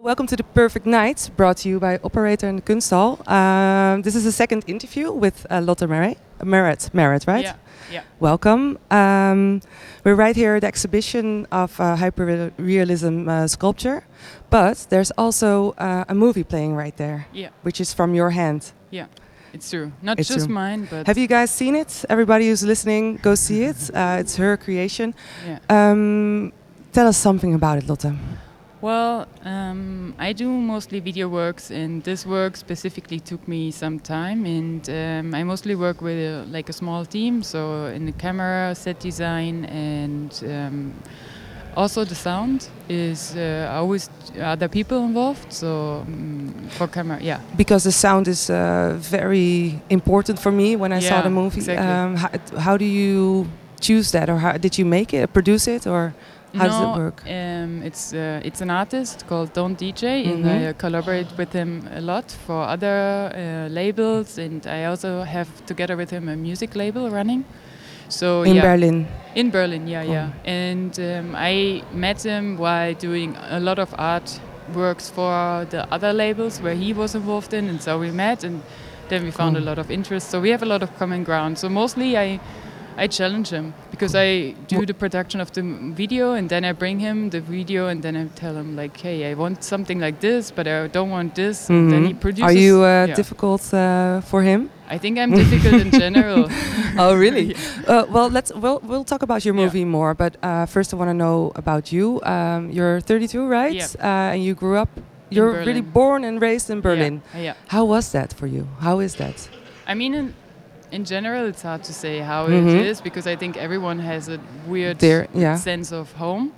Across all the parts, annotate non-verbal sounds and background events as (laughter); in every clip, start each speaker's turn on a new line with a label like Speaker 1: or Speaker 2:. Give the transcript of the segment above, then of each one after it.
Speaker 1: Welcome to The Perfect Night, brought to you by Operator in the Kunsthal. Um, this is the second interview with uh, Lotte Merritt, Merritt, Merritt, right?
Speaker 2: Yeah, yeah.
Speaker 1: Welcome. Um, we're right here at the exhibition of uh, hyperrealism uh, sculpture, but there's also uh, a movie playing right there,
Speaker 2: Yeah,
Speaker 1: which is from your hand.
Speaker 2: yeah. It's true. Not
Speaker 1: It's
Speaker 2: just
Speaker 1: true.
Speaker 2: mine, but
Speaker 1: Have you guys seen it? Everybody who's listening, go see it. Uh, it's her creation.
Speaker 2: yeah.
Speaker 1: Um, tell us something about it, Lotte.
Speaker 2: Well, um, I do mostly video works, and this work specifically took me some time. And um, I mostly work with a, like a small team, so in the camera, set design, and um, also the sound is uh, always other people involved. So um, for camera, yeah.
Speaker 1: because the sound is uh, very important for me when I saw
Speaker 2: Yeah,
Speaker 1: the movie.
Speaker 2: exactly.
Speaker 1: Um, how, how do you choose that, or how did you make it, produce it, or how does
Speaker 2: No,
Speaker 1: it work?
Speaker 2: Um, it's uh, it's an artist called Don DJ, and
Speaker 1: Mhm.
Speaker 2: I uh, collaborate with him a lot for other uh, labels, and I also have together with him a music label running. So
Speaker 1: In
Speaker 2: Oh, yeah,
Speaker 1: Berlin,
Speaker 2: in Berlin, yeah,
Speaker 1: Cool.
Speaker 2: yeah. And um, I met him while doing a lot of art works for the other labels where he was involved in, and so we met, and then we found
Speaker 1: Cool.
Speaker 2: a lot of interest. So we have a lot of common ground. So mostly I. I challenge him because I do
Speaker 1: Wha-
Speaker 2: the production of the m- video and then I bring him the video and then I tell him like, hey, I want something like this, but I don't want this. And then
Speaker 1: Mhm.
Speaker 2: he produces.
Speaker 1: are you uh,
Speaker 2: yeah.
Speaker 1: difficult uh, for
Speaker 2: (laughs)
Speaker 1: him?
Speaker 2: I think I'm difficult in general.
Speaker 1: oh, (laughs)
Speaker 2: (laughs)
Speaker 1: really? (laughs) Uh, well, let's we'll, we'll talk about your
Speaker 2: Yeah.
Speaker 1: movie more. But uh, first, I want to know about you. Um, you're 32, right?
Speaker 2: Yeah.
Speaker 1: Uh, and you grew up. You're really
Speaker 2: Berlin.
Speaker 1: born and raised in Berlin.
Speaker 2: Yeah. yeah.
Speaker 1: How was that for you? How is that?
Speaker 2: I mean, in, in general, it's hard to say how it
Speaker 1: Mhm.
Speaker 2: is because I think everyone has a weird
Speaker 1: There, yeah.
Speaker 2: sense of home.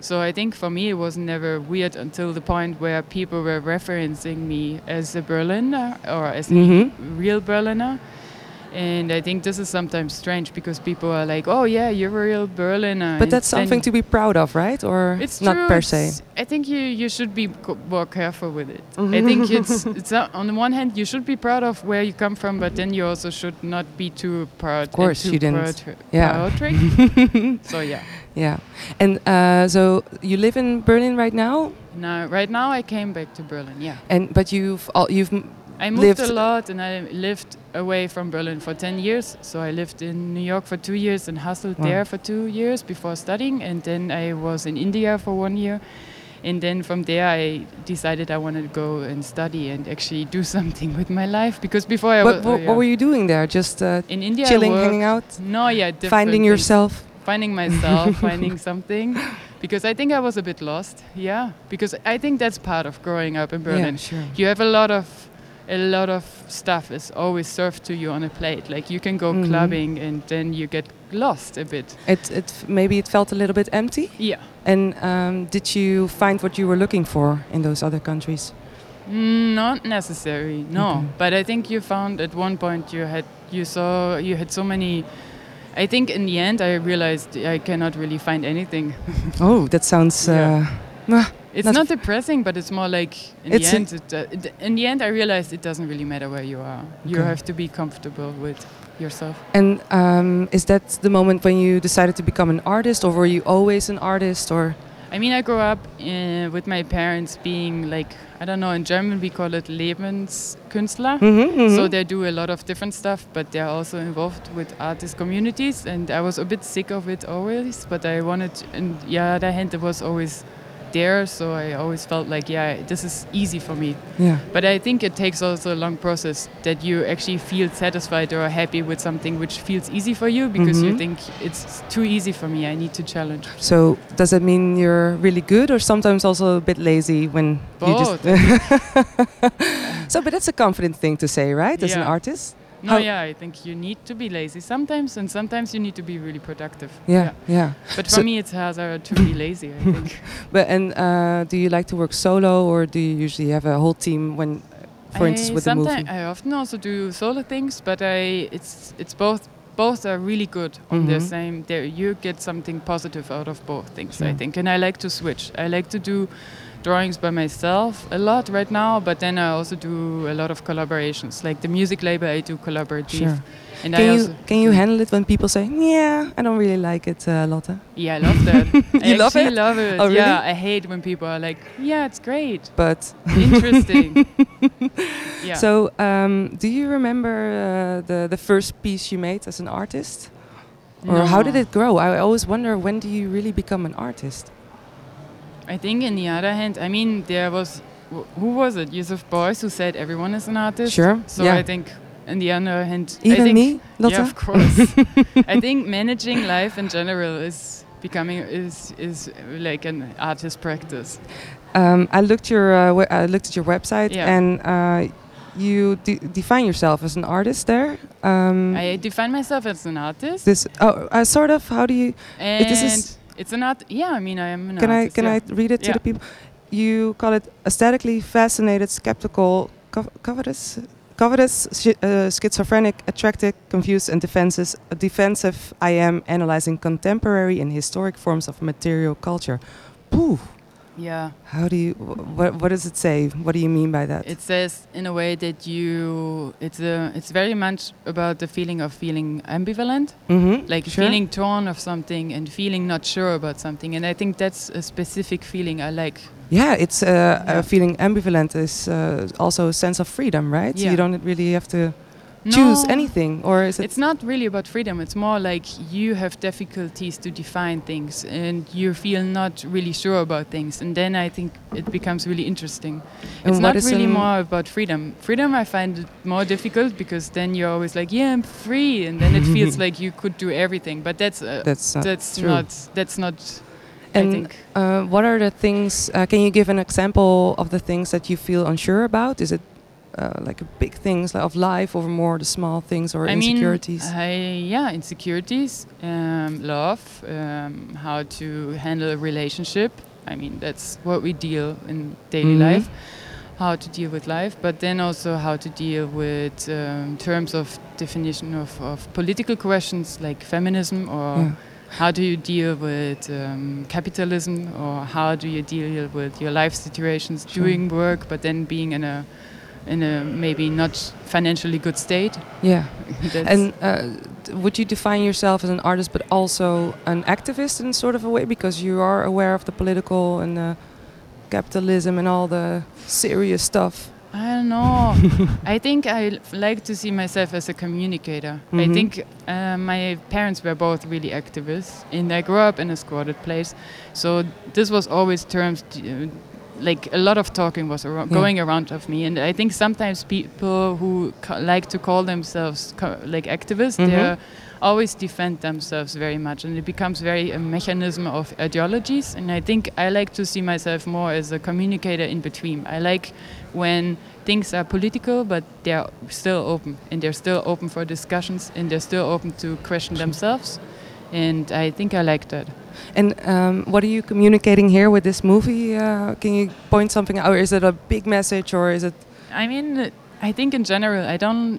Speaker 2: So I think for me, it was never weird until the point where people were referencing me as a Berliner or as
Speaker 1: Mhm.
Speaker 2: a real Berliner. And I think this is sometimes strange because people are like, "Oh yeah, you're a real Berliner."
Speaker 1: But
Speaker 2: and
Speaker 1: that's
Speaker 2: then-
Speaker 1: something to be proud of, right? Or
Speaker 2: it's
Speaker 1: not
Speaker 2: true,
Speaker 1: per se.
Speaker 2: it's- I think you, you should be co- more careful with it.
Speaker 1: Mm-hmm.
Speaker 2: I think
Speaker 1: (laughs)
Speaker 2: it's, it's uh, on the one hand you should be proud of where you come from, but then you also should not be too proud. Of
Speaker 1: course
Speaker 2: and too
Speaker 1: you didn't.
Speaker 2: prod-
Speaker 1: Yeah. (laughs)
Speaker 2: proudric. so yeah.
Speaker 1: Yeah, and uh, so you live in Berlin right now,
Speaker 2: Now right now I came back to Berlin. Yeah.
Speaker 1: and but you've all, you've m-
Speaker 2: I moved
Speaker 1: Lived-
Speaker 2: a lot and I lived away from Berlin for 10 years. So I lived in New York for two years and hustled
Speaker 1: Wow.
Speaker 2: there for two years before studying. And then I was in India for one year. And then from there, I decided I wanted to go and study and actually do (laughs) something with my life. Because before I
Speaker 1: what,
Speaker 2: was
Speaker 1: what,
Speaker 2: uh, yeah.
Speaker 1: what were you doing there? Just uh,
Speaker 2: in India, I
Speaker 1: chilling,
Speaker 2: worked-
Speaker 1: hanging out,
Speaker 2: No, yeah, different
Speaker 1: finding
Speaker 2: things.
Speaker 1: yourself.
Speaker 2: Finding
Speaker 1: (laughs)
Speaker 2: myself, finding something. Because I think I was a bit lost. Yeah. Because I think that's part of growing up in Berlin
Speaker 1: Yeah, sure.
Speaker 2: you have a lot of a lot of stuff is always served to you on a plate like you can go
Speaker 1: Mhm.
Speaker 2: clubbing and then you get lost a bit
Speaker 1: It, it f- maybe it felt a little bit empty.
Speaker 2: yeah
Speaker 1: And um, did you find what you were looking for in those other countries?
Speaker 2: Mm, not necessary no
Speaker 1: Okay.
Speaker 2: but i think you found at one point you had you saw you had so many i think in the end i realized i cannot really find anything (laughs)
Speaker 1: Oh, that sounds. Uh,
Speaker 2: Yeah.
Speaker 1: ah,
Speaker 2: it's
Speaker 1: Not-
Speaker 2: not, depressing but it's more like in
Speaker 1: It's
Speaker 2: the
Speaker 1: an-
Speaker 2: end it, uh, it- in the end i realized it doesn't really matter where you are you
Speaker 1: Okay.
Speaker 2: have to be comfortable with yourself
Speaker 1: And um, is that the moment when you decided to become an artist, or were you always an artist? Or
Speaker 2: I mean, I grew up uh, with my parents being like, I don't know, in German we call it Lebenskünstler.
Speaker 1: Mhm, mhm.
Speaker 2: So they do a lot of different stuff, but they're also involved with artist communities. And I was a bit sick of it always, but I wanted, and yeah, the other hand, it was always there. So I always felt like, yeah, this is easy for me.
Speaker 1: yeah.
Speaker 2: But I think it takes also a long process that you actually feel satisfied or happy with something which feels easy for you because you
Speaker 1: Mhm.
Speaker 2: think it's too easy for me. I need to challenge.
Speaker 1: So does that mean you're really good, or sometimes also a bit lazy when
Speaker 2: Both.
Speaker 1: you just? (laughs) so, but that's a confident thing to say, right? As an
Speaker 2: Yeah.
Speaker 1: artist.
Speaker 2: No,
Speaker 1: How-
Speaker 2: yeah, I think you need to be lazy sometimes, and sometimes you need to be really productive.
Speaker 1: Yeah, yeah.
Speaker 2: But for
Speaker 1: So-
Speaker 2: me, it's harder to be lazy,
Speaker 1: (laughs)
Speaker 2: I think.
Speaker 1: But and uh, do you like to work solo, or do you usually have a whole team when, for instance,
Speaker 2: I
Speaker 1: with a movie?
Speaker 2: sometime- I often also do solo things, but I it's it's both both are really good on their
Speaker 1: Mhm.
Speaker 2: same. There you get something positive out of both things, I
Speaker 1: Sure.
Speaker 2: think, and I like to switch. I like to do drawings by myself a lot right now, but then I also do a lot of collaborations. Like the music label, I do collaborative.
Speaker 1: Sure.
Speaker 2: And I
Speaker 1: Can you
Speaker 2: also
Speaker 1: can you handle it when people say, "Yeah, I don't really like it, uh, Lotte"?
Speaker 2: yeah, I love
Speaker 1: (laughs)
Speaker 2: that. I
Speaker 1: You love it?
Speaker 2: actually love it.
Speaker 1: Oh, really?
Speaker 2: Yeah, I hate when people are like, yeah, it's great,
Speaker 1: But (laughs)
Speaker 2: interesting. yeah.
Speaker 1: so, um, do you remember uh, the the first piece you made as an artist, or how did
Speaker 2: No.
Speaker 1: it grow? I always wonder when do you really become an artist?
Speaker 2: I think, in the other hand, I mean, there was wh- who was it? Yusuf Boyce who said everyone is an artist.
Speaker 1: Sure,
Speaker 2: So
Speaker 1: yeah.
Speaker 2: I think, in the other hand, I
Speaker 1: Even
Speaker 2: think,
Speaker 1: me, Lotte.
Speaker 2: Yeah, of
Speaker 1: (laughs)
Speaker 2: course. I think managing life in general is becoming is is like an artist practice.
Speaker 1: Um, I looked your uh, we- I looked at your website
Speaker 2: Yeah.
Speaker 1: and uh, you de- define yourself as an artist there. Um,
Speaker 2: I define myself as an artist,
Speaker 1: this oh, uh, sort of how do you
Speaker 2: and
Speaker 1: this is-
Speaker 2: it's an art. Yeah, I mean, I am an
Speaker 1: can I
Speaker 2: artist.
Speaker 1: can
Speaker 2: yeah.
Speaker 1: I read it to
Speaker 2: Yeah.
Speaker 1: the people? You call it aesthetically fascinated, skeptical, cov- covetous. Covetous, shi uh, schizophrenic, attracted, confused, and defenses, defensive. I am analyzing contemporary and historic forms of material culture. Pooh.
Speaker 2: Yeah.
Speaker 1: How do you? wh- What, what does it say? What do you mean by that?
Speaker 2: It says in a way that you it's a it's very much about the feeling of feeling ambivalent.
Speaker 1: mm-hmm.
Speaker 2: like feeling torn of something and feeling not sure about something and i think that's a specific feeling i like
Speaker 1: Yeah, it's uh,
Speaker 2: Yeah.
Speaker 1: Uh, feeling ambivalent is uh, also a sense of freedom, right?
Speaker 2: Yeah.
Speaker 1: You don't really have to choose
Speaker 2: No,
Speaker 1: anything, or is it?
Speaker 2: it's not really about freedom it's more like you have difficulties to define things and you feel not really sure about things and then i think it becomes really interesting
Speaker 1: And
Speaker 2: it's
Speaker 1: what
Speaker 2: not
Speaker 1: is
Speaker 2: really
Speaker 1: an-
Speaker 2: more about freedom freedom i find it more difficult because then you're always like yeah i'm free and then it feels
Speaker 1: (laughs)
Speaker 2: like you could do everything but that's uh,
Speaker 1: That's not
Speaker 2: that's
Speaker 1: true.
Speaker 2: not that's not i
Speaker 1: And,
Speaker 2: think
Speaker 1: Uh, what are the things? Uh, can you give an example of the things that you feel unsure about? Is it uh, like big things like of life, or more the small things or insecurities?
Speaker 2: Mean, uh, I, yeah, insecurities, um, love, um, how to handle a relationship. I mean, that's what we deal in daily
Speaker 1: Mhm.
Speaker 2: life, how to deal with life, but then also how to deal with um, terms of definition of, of political questions like feminism or
Speaker 1: Yeah.
Speaker 2: how do you deal with um, capitalism or how do you deal with your life situations
Speaker 1: Sure.
Speaker 2: doing work, but then being in a in a maybe not financially good state.
Speaker 1: yeah.
Speaker 2: That's-
Speaker 1: And uh, d- would you define yourself as an artist, but also an activist in sort of a way, because you are aware of the political and uh, capitalism and all the serious stuff?
Speaker 2: I don't know. I think I l- like to see myself as a communicator. I
Speaker 1: Mhm.
Speaker 2: think uh, my parents were both really activists, and I grew up in a squatted place, so this was always terms. t- uh, like a lot of talking was aro-
Speaker 1: Yeah.
Speaker 2: going around of me, and I think sometimes people who ca- like to call themselves co- like activists,
Speaker 1: Mhm.
Speaker 2: they always defend themselves very much, and it becomes very a mechanism of ideologies. And I think I like to see myself more as a communicator in between. I like when things are political, but they're still open, and they're still open for discussions, and they're still open to question themselves. And I think I like that.
Speaker 1: And um, what are you communicating here with this movie? Uh, can you point something out? Or is it a big message or is it.
Speaker 2: I mean, I think in general, I don't.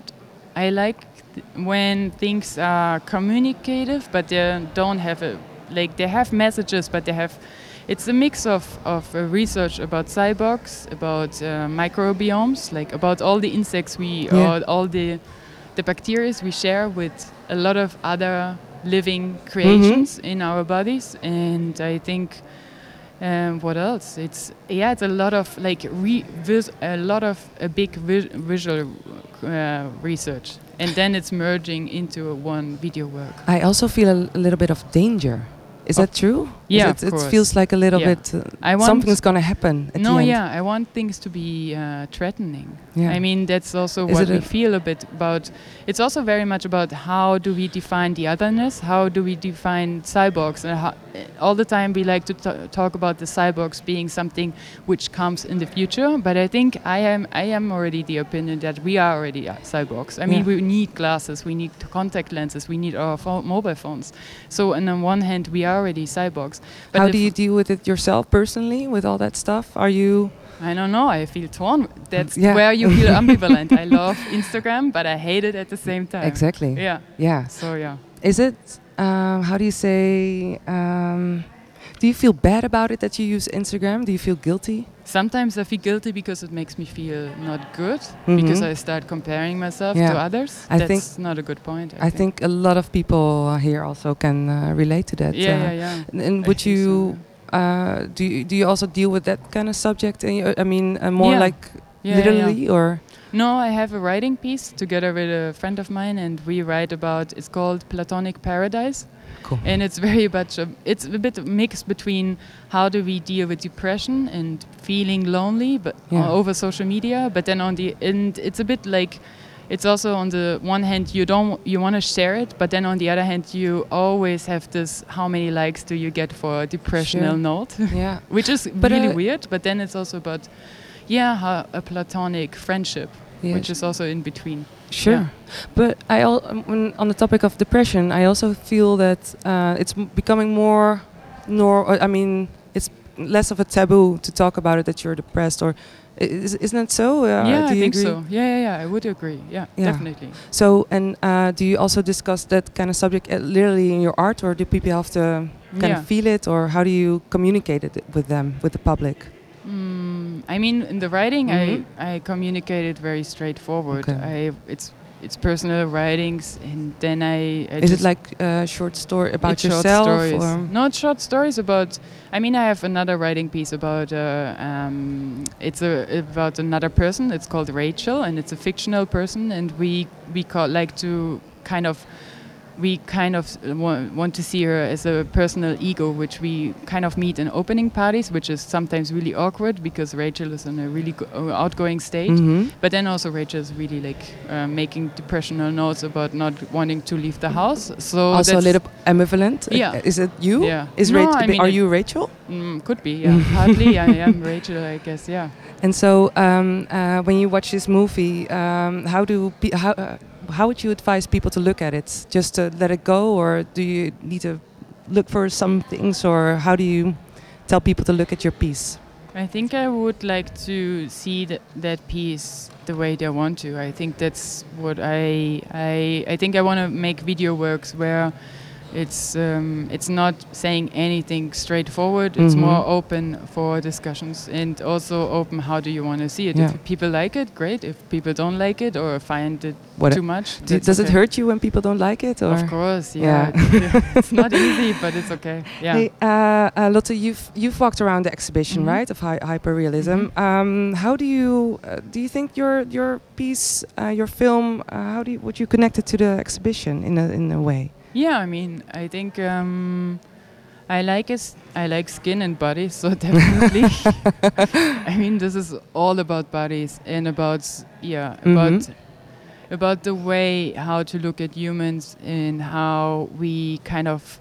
Speaker 2: I like th- when things are communicative, but they don't have a like they have messages, but they have. It's a mix of of uh, research about cyborgs, about uh, microbiomes, like about all the insects we
Speaker 1: Yeah.
Speaker 2: or all the the bacteria we share with a lot of other living creations
Speaker 1: Mm-hmm.
Speaker 2: in our bodies, and I think. Um, what else? It's yeah, it's a lot of like re- vis- a lot of a big vi- visual uh, research, and then it's merging into one video work.
Speaker 1: I also feel a, l- a little bit of danger. Is
Speaker 2: Of-
Speaker 1: that true?
Speaker 2: Yeah,
Speaker 1: Is
Speaker 2: of
Speaker 1: it, it
Speaker 2: course.
Speaker 1: feels like a little
Speaker 2: Yeah.
Speaker 1: bit. Uh,
Speaker 2: I want
Speaker 1: something's going to happen. At
Speaker 2: no,
Speaker 1: the end.
Speaker 2: yeah, I want things to be uh, threatening.
Speaker 1: Yeah.
Speaker 2: I mean, that's also
Speaker 1: Is
Speaker 2: what
Speaker 1: it
Speaker 2: we
Speaker 1: a-
Speaker 2: feel a bit about. It's also very much about how do we define the otherness? How do we define cyborgs? And how, eh, all the time we like to t- talk about the cyborgs being something which comes in the future. But I think I am I am already the opinion that we are already uh, cyborgs. I mean,
Speaker 1: Yeah.
Speaker 2: we need glasses, we need contact lenses, we need our pho- mobile phones. So, and on one hand, we are already cyborgs. But
Speaker 1: How
Speaker 2: if-
Speaker 1: do you deal with it yourself personally with all that stuff? Are you.
Speaker 2: I don't know. I feel torn. That's
Speaker 1: Yeah.
Speaker 2: where you
Speaker 1: (laughs)
Speaker 2: feel ambivalent. I love Instagram, but I hate it at the same time.
Speaker 1: Exactly.
Speaker 2: Yeah.
Speaker 1: Yeah.
Speaker 2: So yeah.
Speaker 1: Is it, um, how do you say, um, do you feel bad about it that you use Instagram? Do you feel guilty?
Speaker 2: Sometimes I feel guilty because it makes me feel not good
Speaker 1: Mhm.
Speaker 2: because I start comparing myself
Speaker 1: Yeah.
Speaker 2: to others.
Speaker 1: I think-
Speaker 2: That's not a good point. I,
Speaker 1: I think a lot of people here also can uh, relate to that.
Speaker 2: Yeah,
Speaker 1: uh,
Speaker 2: yeah, yeah.
Speaker 1: And, and
Speaker 2: I
Speaker 1: would
Speaker 2: think so,
Speaker 1: you uh, do? You, do you also deal with that kind of subject? In your, I mean, uh, more
Speaker 2: Yeah.
Speaker 1: like
Speaker 2: yeah. Yeah, yeah, yeah.
Speaker 1: literally, or
Speaker 2: No, I have a writing piece together with a friend of mine, and we write about. It's called Platonic Paradise,
Speaker 1: Cool.
Speaker 2: and it's very much. A, it's a bit mixed between how do we deal with depression and feeling lonely, but
Speaker 1: Yeah.
Speaker 2: o- over social media. But then on the end, it's a bit like. It's also on the one hand you don't you want to share it, but then on the other hand you always have this how many likes do you get for a depressional
Speaker 1: Sure.
Speaker 2: note? (laughs)
Speaker 1: yeah,
Speaker 2: which is
Speaker 1: But,
Speaker 2: really
Speaker 1: uh,
Speaker 2: weird. But then it's also about, yeah, how a platonic friendship,
Speaker 1: yeah,
Speaker 2: which is also in between.
Speaker 1: sure. But I al- um, when on the topic of depression, I also feel that uh, it's m- becoming more, nor uh, I mean, it's less of a taboo to talk about it that you're depressed, or i- is, isn't that so? Uh,
Speaker 2: yeah,
Speaker 1: do
Speaker 2: I
Speaker 1: you
Speaker 2: think
Speaker 1: agree?
Speaker 2: so. Yeah, yeah, yeah, I would agree. Yeah,
Speaker 1: Yeah.
Speaker 2: definitely.
Speaker 1: So, and uh, do you also discuss that kind of subject uh, literally in your art, or do people have to kind
Speaker 2: yeah.
Speaker 1: of feel it, or how do you communicate it with them, with the public?
Speaker 2: Mm, I mean, in the writing,
Speaker 1: Mhm.
Speaker 2: I I communicate it very straightforward.
Speaker 1: Okay.
Speaker 2: I it's it's personal writings, and then I, I
Speaker 1: Is
Speaker 2: just
Speaker 1: it like a short story about
Speaker 2: It's
Speaker 1: yourself?
Speaker 2: Short stories.
Speaker 1: Or?
Speaker 2: Not short stories about. I mean, I have another writing piece about. Uh, um, it's a, about another person. It's called Rachel, and it's a fictional person, and we we call, like to kind of. We kind of wa- want to see her as a personal ego, which we kind of meet in opening parties, which is sometimes really awkward because Rachel is on a really go- uh, outgoing state.
Speaker 1: Mhm.
Speaker 2: But then also Rachel is really like uh, making depressional notes about not wanting to leave the house. So
Speaker 1: also a
Speaker 2: Oh, that's-
Speaker 1: little ambivalent. Uh,
Speaker 2: Yeah.
Speaker 1: Is it you?
Speaker 2: yeah.
Speaker 1: Is
Speaker 2: no,
Speaker 1: Rach-
Speaker 2: I mean
Speaker 1: are
Speaker 2: it-
Speaker 1: you Rachel?
Speaker 2: Mm, could
Speaker 1: (laughs)
Speaker 2: be, yeah. Hardly I am Rachel, I guess, yeah.
Speaker 1: And so, um, uh, when you watch this movie, um, how do pe- how uh, how would you advise people to look at it? Just to let it go, or do you need to look for some things, or how do you tell people to look at your piece?
Speaker 2: I think I would like to see th- that piece the way they want to. I think that's what I I I think I want to make video works where it's um, it's not saying anything straightforward. It's
Speaker 1: Mhm.
Speaker 2: more open for discussions and also open. How do you want to see it?
Speaker 1: Yeah.
Speaker 2: If people like it, great. If people don't like it or find it
Speaker 1: What
Speaker 2: too much,
Speaker 1: do,
Speaker 2: that's
Speaker 1: does it
Speaker 2: okay.
Speaker 1: hurt you when people don't like it? Or?
Speaker 2: Of course,
Speaker 1: Yeah.
Speaker 2: yeah. (laughs) it's not easy, but it's okay. Yeah.
Speaker 1: Hey, uh, uh, Lotte, you've you've walked around the exhibition,
Speaker 2: Mhm.
Speaker 1: right, of hy- hyperrealism.
Speaker 2: Mm-hmm.
Speaker 1: Um, how do you uh, do? You think your your piece, uh, your film, uh, how do you, would you connect it to the exhibition in a in a way?
Speaker 2: Yeah, I mean, I think um, I like is I like skin and body, so (laughs) definitely. I mean, this is all about bodies and about s- yeah about
Speaker 1: Mhm.
Speaker 2: about the way how to look at humans and how we kind of.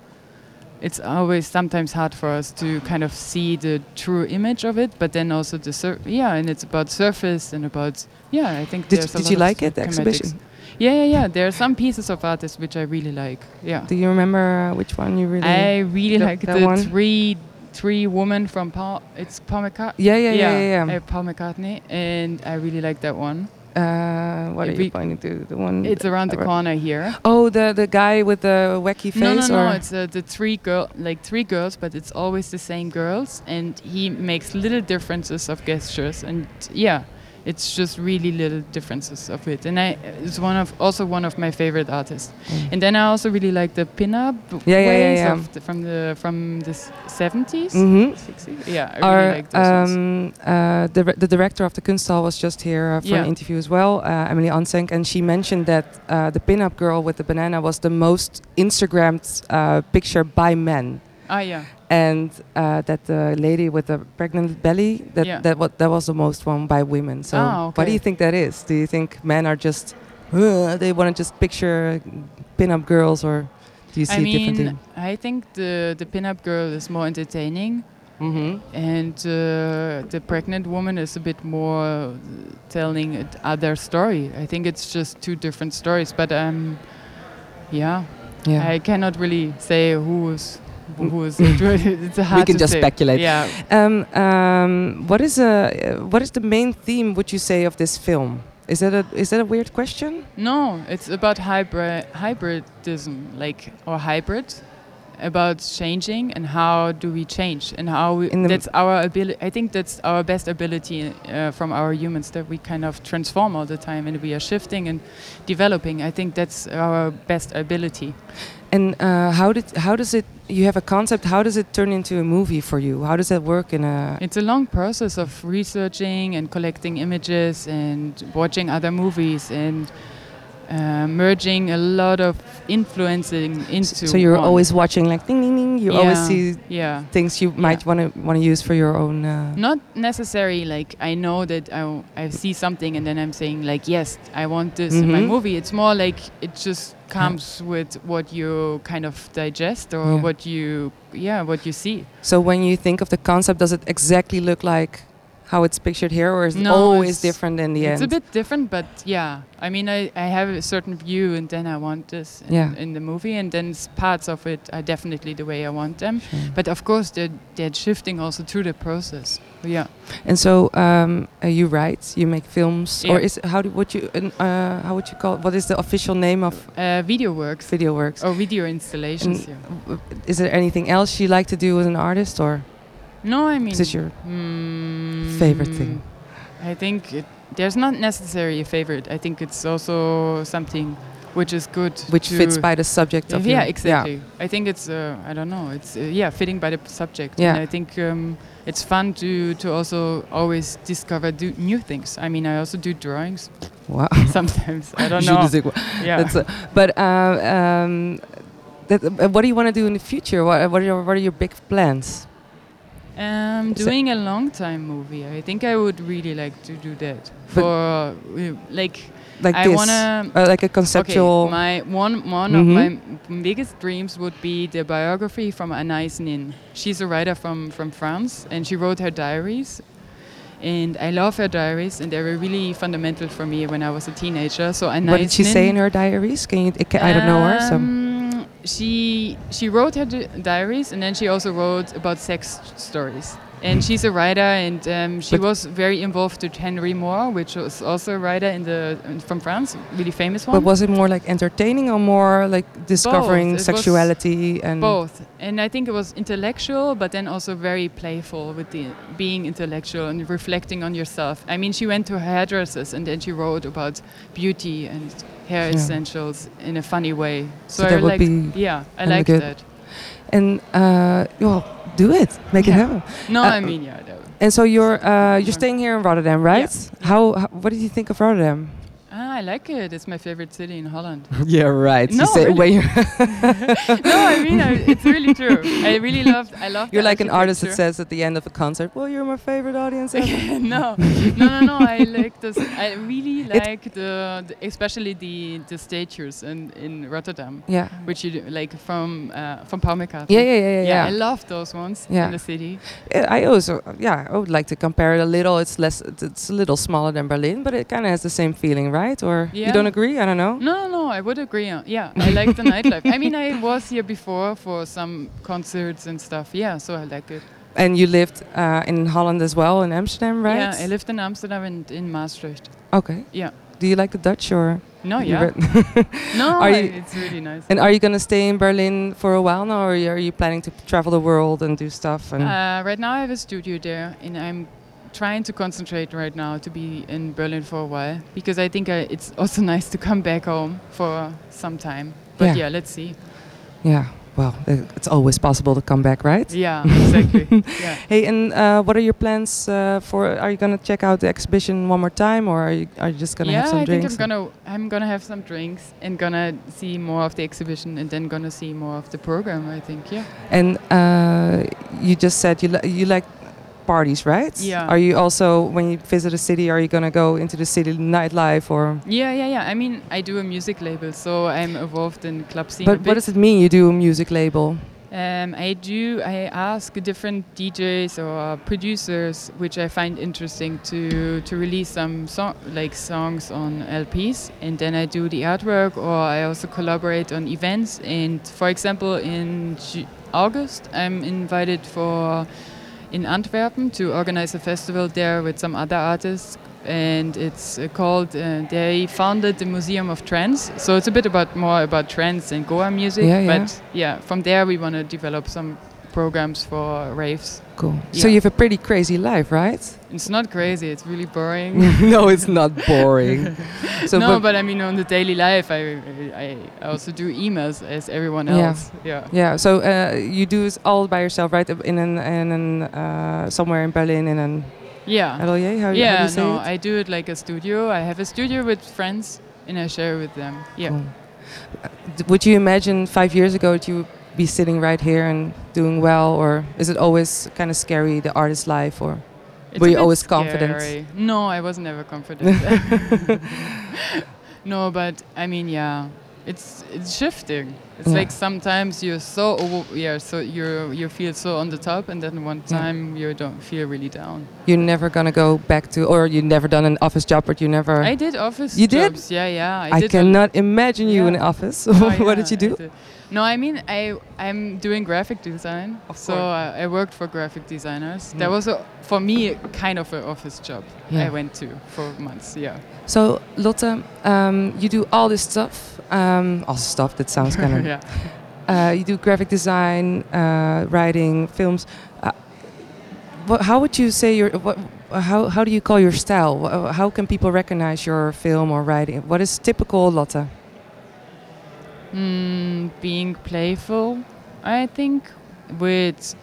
Speaker 2: It's always sometimes hard for us to kind of see the true image of it, but then also the sur- yeah, and it's about surface and about yeah. I think
Speaker 1: Did,
Speaker 2: there's a
Speaker 1: did
Speaker 2: lot
Speaker 1: you
Speaker 2: of
Speaker 1: like it, the
Speaker 2: schematics.
Speaker 1: exhibition?
Speaker 2: Yeah, yeah, yeah. There are some pieces of artists which I really like. Yeah.
Speaker 1: Do you remember uh, which one you really?
Speaker 2: I really
Speaker 1: That-
Speaker 2: like
Speaker 1: that
Speaker 2: the
Speaker 1: one?
Speaker 2: three three women from Paul. It's Paul McCartney.
Speaker 1: yeah, yeah, yeah, yeah. yeah.
Speaker 2: uh, Paul McCartney, and I really like that one.
Speaker 1: Uh, what are
Speaker 2: if
Speaker 1: you
Speaker 2: we-
Speaker 1: pointing to? The one?
Speaker 2: It's around the
Speaker 1: Alright.
Speaker 2: corner here.
Speaker 1: oh, the the guy with the wacky face.
Speaker 2: No, no,
Speaker 1: or
Speaker 2: no. It's uh, the three girl, like three girls, but it's always the same girls, and he makes little differences of gestures, and yeah, it's just really little differences of it. And I, it's one of also one of my favorite artists.
Speaker 1: Mm.
Speaker 2: And then I also really like the pinup
Speaker 1: Yeah, yeah, yeah,
Speaker 2: ways
Speaker 1: yeah.
Speaker 2: Of the, from the from the seventies.
Speaker 1: Mhm.
Speaker 2: 60? Yeah, I
Speaker 1: Our,
Speaker 2: really like those ones.
Speaker 1: um, uh, the, re- the director of the Kunsthal was just here uh, for
Speaker 2: Yeah.
Speaker 1: an interview as well, uh, Emily Ansenk, and she mentioned that uh, the pin-up girl with the banana was the most Instagrammed uh, picture by men,
Speaker 2: Ah, yeah.
Speaker 1: and uh, that the lady with the pregnant belly that
Speaker 2: Yeah.
Speaker 1: that what that was the most one by women. So,
Speaker 2: Ah,
Speaker 1: what do
Speaker 2: okay.
Speaker 1: you think that is? Do you think men are just uh, they want to just picture pin-up girls, or do you see
Speaker 2: I
Speaker 1: it differently?
Speaker 2: mean, I think the the pinup girl is more entertaining,
Speaker 1: Mm-hmm.
Speaker 2: and uh, the pregnant woman is a bit more uh, telling a other story. I think it's just two different stories, but um, yeah,
Speaker 1: Yeah.
Speaker 2: I cannot really say who is who is. (laughs) it's hard
Speaker 1: can
Speaker 2: to
Speaker 1: just
Speaker 2: say.
Speaker 1: speculate.
Speaker 2: Yeah,
Speaker 1: Um, um, what is a, uh, what is the main theme? Would you say of this film? Is that a is that a weird question?
Speaker 2: No, it's about hybrid hybridism, like or hybrid, about changing and how do we change and how we,
Speaker 1: In the-
Speaker 2: that's our ability. I think that's our best ability uh, from our humans that we kind of transform all the time and we are shifting and developing. I think that's our best ability.
Speaker 1: And uh, how did how does it? You have a concept. How does it turn into a movie for you? How does that work in a?
Speaker 2: It's a long process of researching and collecting images and watching other movies and uh, merging a lot of influencing into.
Speaker 1: so you're
Speaker 2: one.
Speaker 1: always watching, like ding ding ding. You always
Speaker 2: Yeah,
Speaker 1: see
Speaker 2: Yeah.
Speaker 1: things you might want to want to use for your own. Uh,
Speaker 2: Not necessarily like I know that I, w- I see something and then I'm saying like yes I want this in my
Speaker 1: Mhm.
Speaker 2: movie. It's more like it just comes with what you kind of digest or
Speaker 1: Yeah.
Speaker 2: what you yeah what you see.
Speaker 1: So when you think of the concept, does it exactly look like how it's pictured here, or is it
Speaker 2: No,
Speaker 1: always
Speaker 2: it's-
Speaker 1: different in the
Speaker 2: it's
Speaker 1: end?
Speaker 2: a bit different, but yeah. I mean, I, I have a certain view, and then I want this in,
Speaker 1: Yeah.
Speaker 2: in the movie, and then s- parts of it are definitely the way I want them.
Speaker 1: Sure.
Speaker 2: But of course, they're, they're shifting also through the process. Yeah.
Speaker 1: And so um, uh, you write, you make films, or
Speaker 2: Yeah.
Speaker 1: is how do what you an- uh, how would you call what is the official name of
Speaker 2: Uh, video works
Speaker 1: video works?
Speaker 2: or video installations.
Speaker 1: Mm.
Speaker 2: yeah.
Speaker 1: W- Is there anything else you like to do as an artist, or
Speaker 2: No, I mean,
Speaker 1: is this your
Speaker 2: mm,
Speaker 1: favorite thing?
Speaker 2: I think it, there's not necessarily a favorite. I think it's also something which is good,
Speaker 1: which
Speaker 2: to-
Speaker 1: fits by the subject of
Speaker 2: yeah
Speaker 1: your-
Speaker 2: exactly i think it's uh, i don't know it's uh, yeah fitting by the p- subject
Speaker 1: Yeah.
Speaker 2: and i think um, it's fun to to also always discover do new things i mean i also do
Speaker 1: (laughs)
Speaker 2: drawings (laughs)
Speaker 1: Wow.
Speaker 2: sometimes i
Speaker 1: (laughs)
Speaker 2: don't
Speaker 1: Je
Speaker 2: know
Speaker 1: ne sais quoi.
Speaker 2: yeah
Speaker 1: That's, uh, but uh, um, that, uh, what do you want to do in the future? What, what, are your, what are your big plans?
Speaker 2: um,
Speaker 1: So-
Speaker 2: doing a long time movie i think i would really like to do that
Speaker 1: But-
Speaker 2: for uh, like
Speaker 1: Like
Speaker 2: i
Speaker 1: this,
Speaker 2: want to
Speaker 1: Uh, like a conceptual.
Speaker 2: Okay, my one one of
Speaker 1: Mhm.
Speaker 2: my m- biggest dreams would be the biography from Anais Nin. She's a writer from from France, and she wrote her diaries. And I love her diaries, and they were really fundamental for me when I was a teenager. So Anais
Speaker 1: what did she
Speaker 2: Nin,
Speaker 1: say in her diaries? Can you? I ca- I don't know her. So
Speaker 2: um, she she wrote her di- diaries, and then she also wrote about sex stories. And she's a writer, and um, she
Speaker 1: But-
Speaker 2: was very involved with Henry Moore, which was also a writer in the from France, really famous one.
Speaker 1: but was it more like entertaining or more like discovering
Speaker 2: It was
Speaker 1: sexuality and
Speaker 2: both and i think it was intellectual but then also very playful with the being intellectual and reflecting on yourself i mean she went to hairdressers and then she wrote about beauty and hair
Speaker 1: Yeah.
Speaker 2: essentials in a funny way so,
Speaker 1: So
Speaker 2: i
Speaker 1: that would
Speaker 2: like
Speaker 1: be
Speaker 2: yeah i
Speaker 1: kinda
Speaker 2: like
Speaker 1: good.
Speaker 2: that
Speaker 1: and uh, well, do it, make it
Speaker 2: Yeah.
Speaker 1: happen.
Speaker 2: no
Speaker 1: Uh,
Speaker 2: i mean yeah that would-
Speaker 1: And so you're uh, you're
Speaker 2: Yeah.
Speaker 1: staying here in Rotterdam, right? How, how? What did you think of Rotterdam?
Speaker 2: ah, i like it it's my favorite city in holland
Speaker 1: (laughs)
Speaker 2: (laughs)
Speaker 1: yeah, right.
Speaker 2: No,
Speaker 1: say
Speaker 2: really.
Speaker 1: when (laughs) you're
Speaker 2: (laughs) no i mean I, it's really true i really loved i love
Speaker 1: (laughs) You're like an artist that
Speaker 2: itself.
Speaker 1: says at the end of a concert, "Well, you're my favorite audience."
Speaker 2: (laughs)
Speaker 1: ever."
Speaker 2: no, no, no, no. I like this. I really like the, the- especially the the statues in in Rotterdam,
Speaker 1: yeah.
Speaker 2: which you do- like from uh, from Paul McCartney.
Speaker 1: Yeah, yeah, yeah, yeah.
Speaker 2: Yeah, I
Speaker 1: yeah.
Speaker 2: love those ones
Speaker 1: Yeah.
Speaker 2: in the city.
Speaker 1: Uh, I also, yeah, I would like to compare it a little. It's less, it's- it's a little smaller than Berlin, but it kind of has the same feeling, right? Or you
Speaker 2: Yeah.
Speaker 1: don't agree? I don't know.
Speaker 2: No, no, no, I would agree. On, yeah, I like the nightlife. I mean, I was here before for some concerts and stuff. Yeah, so I like it.
Speaker 1: And you lived uh, in Holland as well, in Amsterdam, right?
Speaker 2: Yeah, I lived in Amsterdam and in Maastricht.
Speaker 1: Okay.
Speaker 2: Yeah.
Speaker 1: Do you like the Dutch or?
Speaker 2: No,
Speaker 1: you
Speaker 2: yeah,
Speaker 1: re-
Speaker 2: no,
Speaker 1: Are
Speaker 2: I-
Speaker 1: you-
Speaker 2: it's really nice.
Speaker 1: (laughs) and are you gonna stay in Berlin for a while now, or are you planning to travel the world and do stuff? And
Speaker 2: Uh, right now, I have a studio there, and I'm trying to concentrate right now to be in Berlin for a while because I think I, it's also (laughs) nice to come back home for some time. But
Speaker 1: Yeah.
Speaker 2: yeah, let's see.
Speaker 1: yeah, well, uh, it's always possible to come back, right? (laughs)
Speaker 2: Yeah, exactly. yeah.
Speaker 1: Hey, and uh, what are your plans uh, for? Are you gonna check out the exhibition one more time, or are you, are you just gonna
Speaker 2: yeah,
Speaker 1: have some
Speaker 2: I
Speaker 1: drinks?
Speaker 2: think I'm gonna I'm gonna have some drinks and gonna see more of the exhibition and then gonna see more of the program. I think yeah.
Speaker 1: and uh, you just said you li- you like parties, right?
Speaker 2: Yeah.
Speaker 1: Are you also when you visit a city, are you gonna go into the city nightlife or?
Speaker 2: Yeah, yeah, yeah. I mean, I do a music label, so I'm involved in club scene. a
Speaker 1: But what
Speaker 2: bit.
Speaker 1: does it mean? You do a music label.
Speaker 2: Um, I do. I ask different DJs or producers, which I find interesting, to to release some song, like songs on LPs, and then I do the artwork, or I also collaborate on events. And for example, in Ju- August, I'm invited for in Antwerpen to organize a festival there with some other artists. And it's uh, called, uh, they founded the Museum of Trends. So it's a bit about more about trends and Goa music.
Speaker 1: Yeah, yeah.
Speaker 2: but yeah, from there we want to develop some programs for raves.
Speaker 1: Cool. So
Speaker 2: Yeah.
Speaker 1: you have a pretty crazy life, right?
Speaker 2: It's not crazy, it's really boring.
Speaker 1: (laughs) no, it's not boring. Mm, (laughs) So,
Speaker 2: no, but,
Speaker 1: but-
Speaker 2: I mean, on the daily life, I, I I also do emails as everyone
Speaker 1: Yeah.
Speaker 2: else. Yeah.
Speaker 1: yeah. So uh, you do this all by yourself, right? In an in an uh, somewhere in Berlin in an
Speaker 2: Yeah.
Speaker 1: atelier. How, how do
Speaker 2: Uh, yeah,
Speaker 1: you say
Speaker 2: no,
Speaker 1: it?
Speaker 2: I do it like a studio. I have a studio with friends and I share with them. Yeah.
Speaker 1: Cool. Uh, d- Would you imagine five years ago that you would be sitting right here and doing well, or is it always kind of scary the artist life? Or
Speaker 2: It's
Speaker 1: Were
Speaker 2: a
Speaker 1: you
Speaker 2: bit
Speaker 1: always confident?
Speaker 2: scary. No, I was never
Speaker 1: (laughs)
Speaker 2: confident. no, but I mean, yeah, it's it's shifting. It's
Speaker 1: Yeah.
Speaker 2: like sometimes you're so over, yeah, so you you feel so on the top, and then one
Speaker 1: Yeah.
Speaker 2: time you don't feel really down.
Speaker 1: you're never gonna go back to, or you never done an office job, but you never.
Speaker 2: I did office
Speaker 1: You did?
Speaker 2: jobs. Yeah, yeah. I,
Speaker 1: I
Speaker 2: did a-
Speaker 1: cannot imagine you
Speaker 2: Yeah.
Speaker 1: in an office.
Speaker 2: Oh,
Speaker 1: (laughs) what did
Speaker 2: yeah,
Speaker 1: you do?
Speaker 2: I No, I mean I I'm doing graphic design.
Speaker 1: Of
Speaker 2: so uh,
Speaker 1: course.
Speaker 2: I, I worked for graphic designers.
Speaker 1: Yeah.
Speaker 2: That was a, for me kind of an office job.
Speaker 1: Yeah.
Speaker 2: I went to for months. Yeah.
Speaker 1: So Lotte, um, you do all this stuff. Um, all stuff that sounds kind
Speaker 2: (laughs)
Speaker 1: of.
Speaker 2: yeah.
Speaker 1: uh, you do graphic design, uh, writing, films. Uh, what, how would you say your what, how how do you call your style? Wha- How can people recognize your film or writing? What is typical Lotte?
Speaker 2: Mm, being playful, I think, with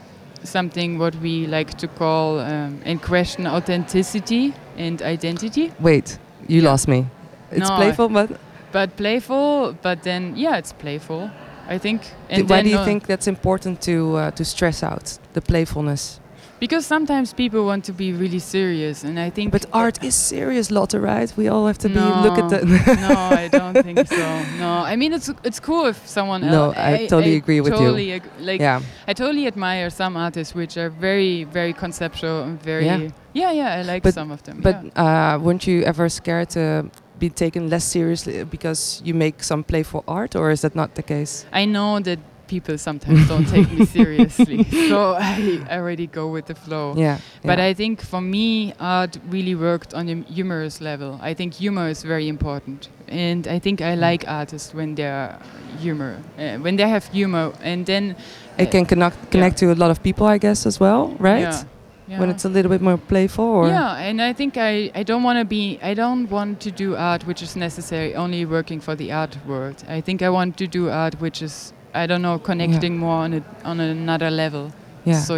Speaker 2: something what we like to call um, in question authenticity and identity.
Speaker 1: Wait, you lost me. It's
Speaker 2: No, I-
Speaker 1: playful, but
Speaker 2: But playful, but then yeah, it's playful. I think.
Speaker 1: th- why
Speaker 2: then
Speaker 1: do you
Speaker 2: uh,
Speaker 1: think that's important to uh, to stress out the playfulness?
Speaker 2: Because sometimes people want to be really serious, and I think.
Speaker 1: But art is serious, Lotte, right? We all have to be look at
Speaker 2: No.
Speaker 1: the.
Speaker 2: no, I
Speaker 1: (laughs)
Speaker 2: don't think so. No, I mean it's it's cool if someone
Speaker 1: No,
Speaker 2: else.
Speaker 1: I totally agree with you.
Speaker 2: totally ag- like
Speaker 1: yeah,
Speaker 2: I totally admire some artists which are very very conceptual and very
Speaker 1: Yeah.
Speaker 2: yeah yeah, I like
Speaker 1: But-
Speaker 2: some of them.
Speaker 1: but
Speaker 2: yeah.
Speaker 1: uh, weren't you ever scared to be taken less seriously because you make some playful art, or is that not the case?
Speaker 2: I know that people sometimes
Speaker 1: (laughs)
Speaker 2: don't take me seriously, so I already go with the flow.
Speaker 1: Yeah.
Speaker 2: But
Speaker 1: yeah.
Speaker 2: I think for me, art really worked on a humorous level. I think humor is very important, and I think
Speaker 1: Mm.
Speaker 2: I like artists when they're humor, uh, when they have humor, and then
Speaker 1: it can connect connect to a lot of people, I guess, as well, right?
Speaker 2: Yeah. yeah.
Speaker 1: When it's a little bit more playful, or
Speaker 2: yeah, and I think I, I don't want to be I don't want to do art which is necessary only working for the art world. I think I want to do art which is I don't know connecting more on a, on another level.
Speaker 1: Yeah. So,
Speaker 2: So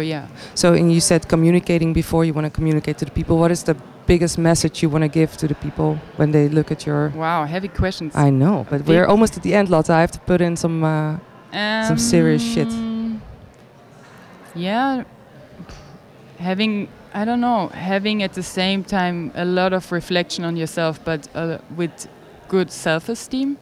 Speaker 2: yeah.
Speaker 1: and you said communicating before you want to communicate to the people. What is the biggest message you want to give to the people when they look at your?
Speaker 2: Wow, heavy questions.
Speaker 1: I know, but we're
Speaker 2: Big-
Speaker 1: almost at the end, Lotta. I have to put in some. Uh, some serious shit.
Speaker 2: Um, Yeah. Having I don't know, having at the same time a lot of reflection on yourself but uh, with
Speaker 1: (laughs)
Speaker 2: good self-esteem.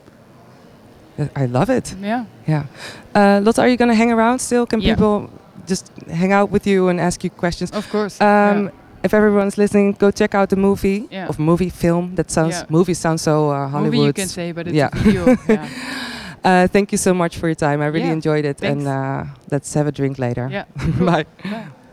Speaker 1: I love it.
Speaker 2: Yeah.
Speaker 1: Yeah. Uh, Lotta, are you going to hang around still? Can
Speaker 2: Yeah.
Speaker 1: people just hang out with you and ask you questions?
Speaker 2: Of course.
Speaker 1: Um, If everyone's listening, go check out the movie
Speaker 2: Yeah.
Speaker 1: of movie film. That sounds
Speaker 2: Yeah.
Speaker 1: movie sounds so uh,
Speaker 2: yeah.
Speaker 1: Hollywood.
Speaker 2: Movie you can say, but it's
Speaker 1: Yeah.
Speaker 2: a
Speaker 1: (laughs)
Speaker 2: video. Yeah.
Speaker 1: Uh, thank you so much for your time. I really
Speaker 2: Yeah,
Speaker 1: enjoyed it.
Speaker 2: thanks.
Speaker 1: (laughs) And uh, let's have a drink later.
Speaker 2: Yeah.
Speaker 1: Bye.
Speaker 2: Bye.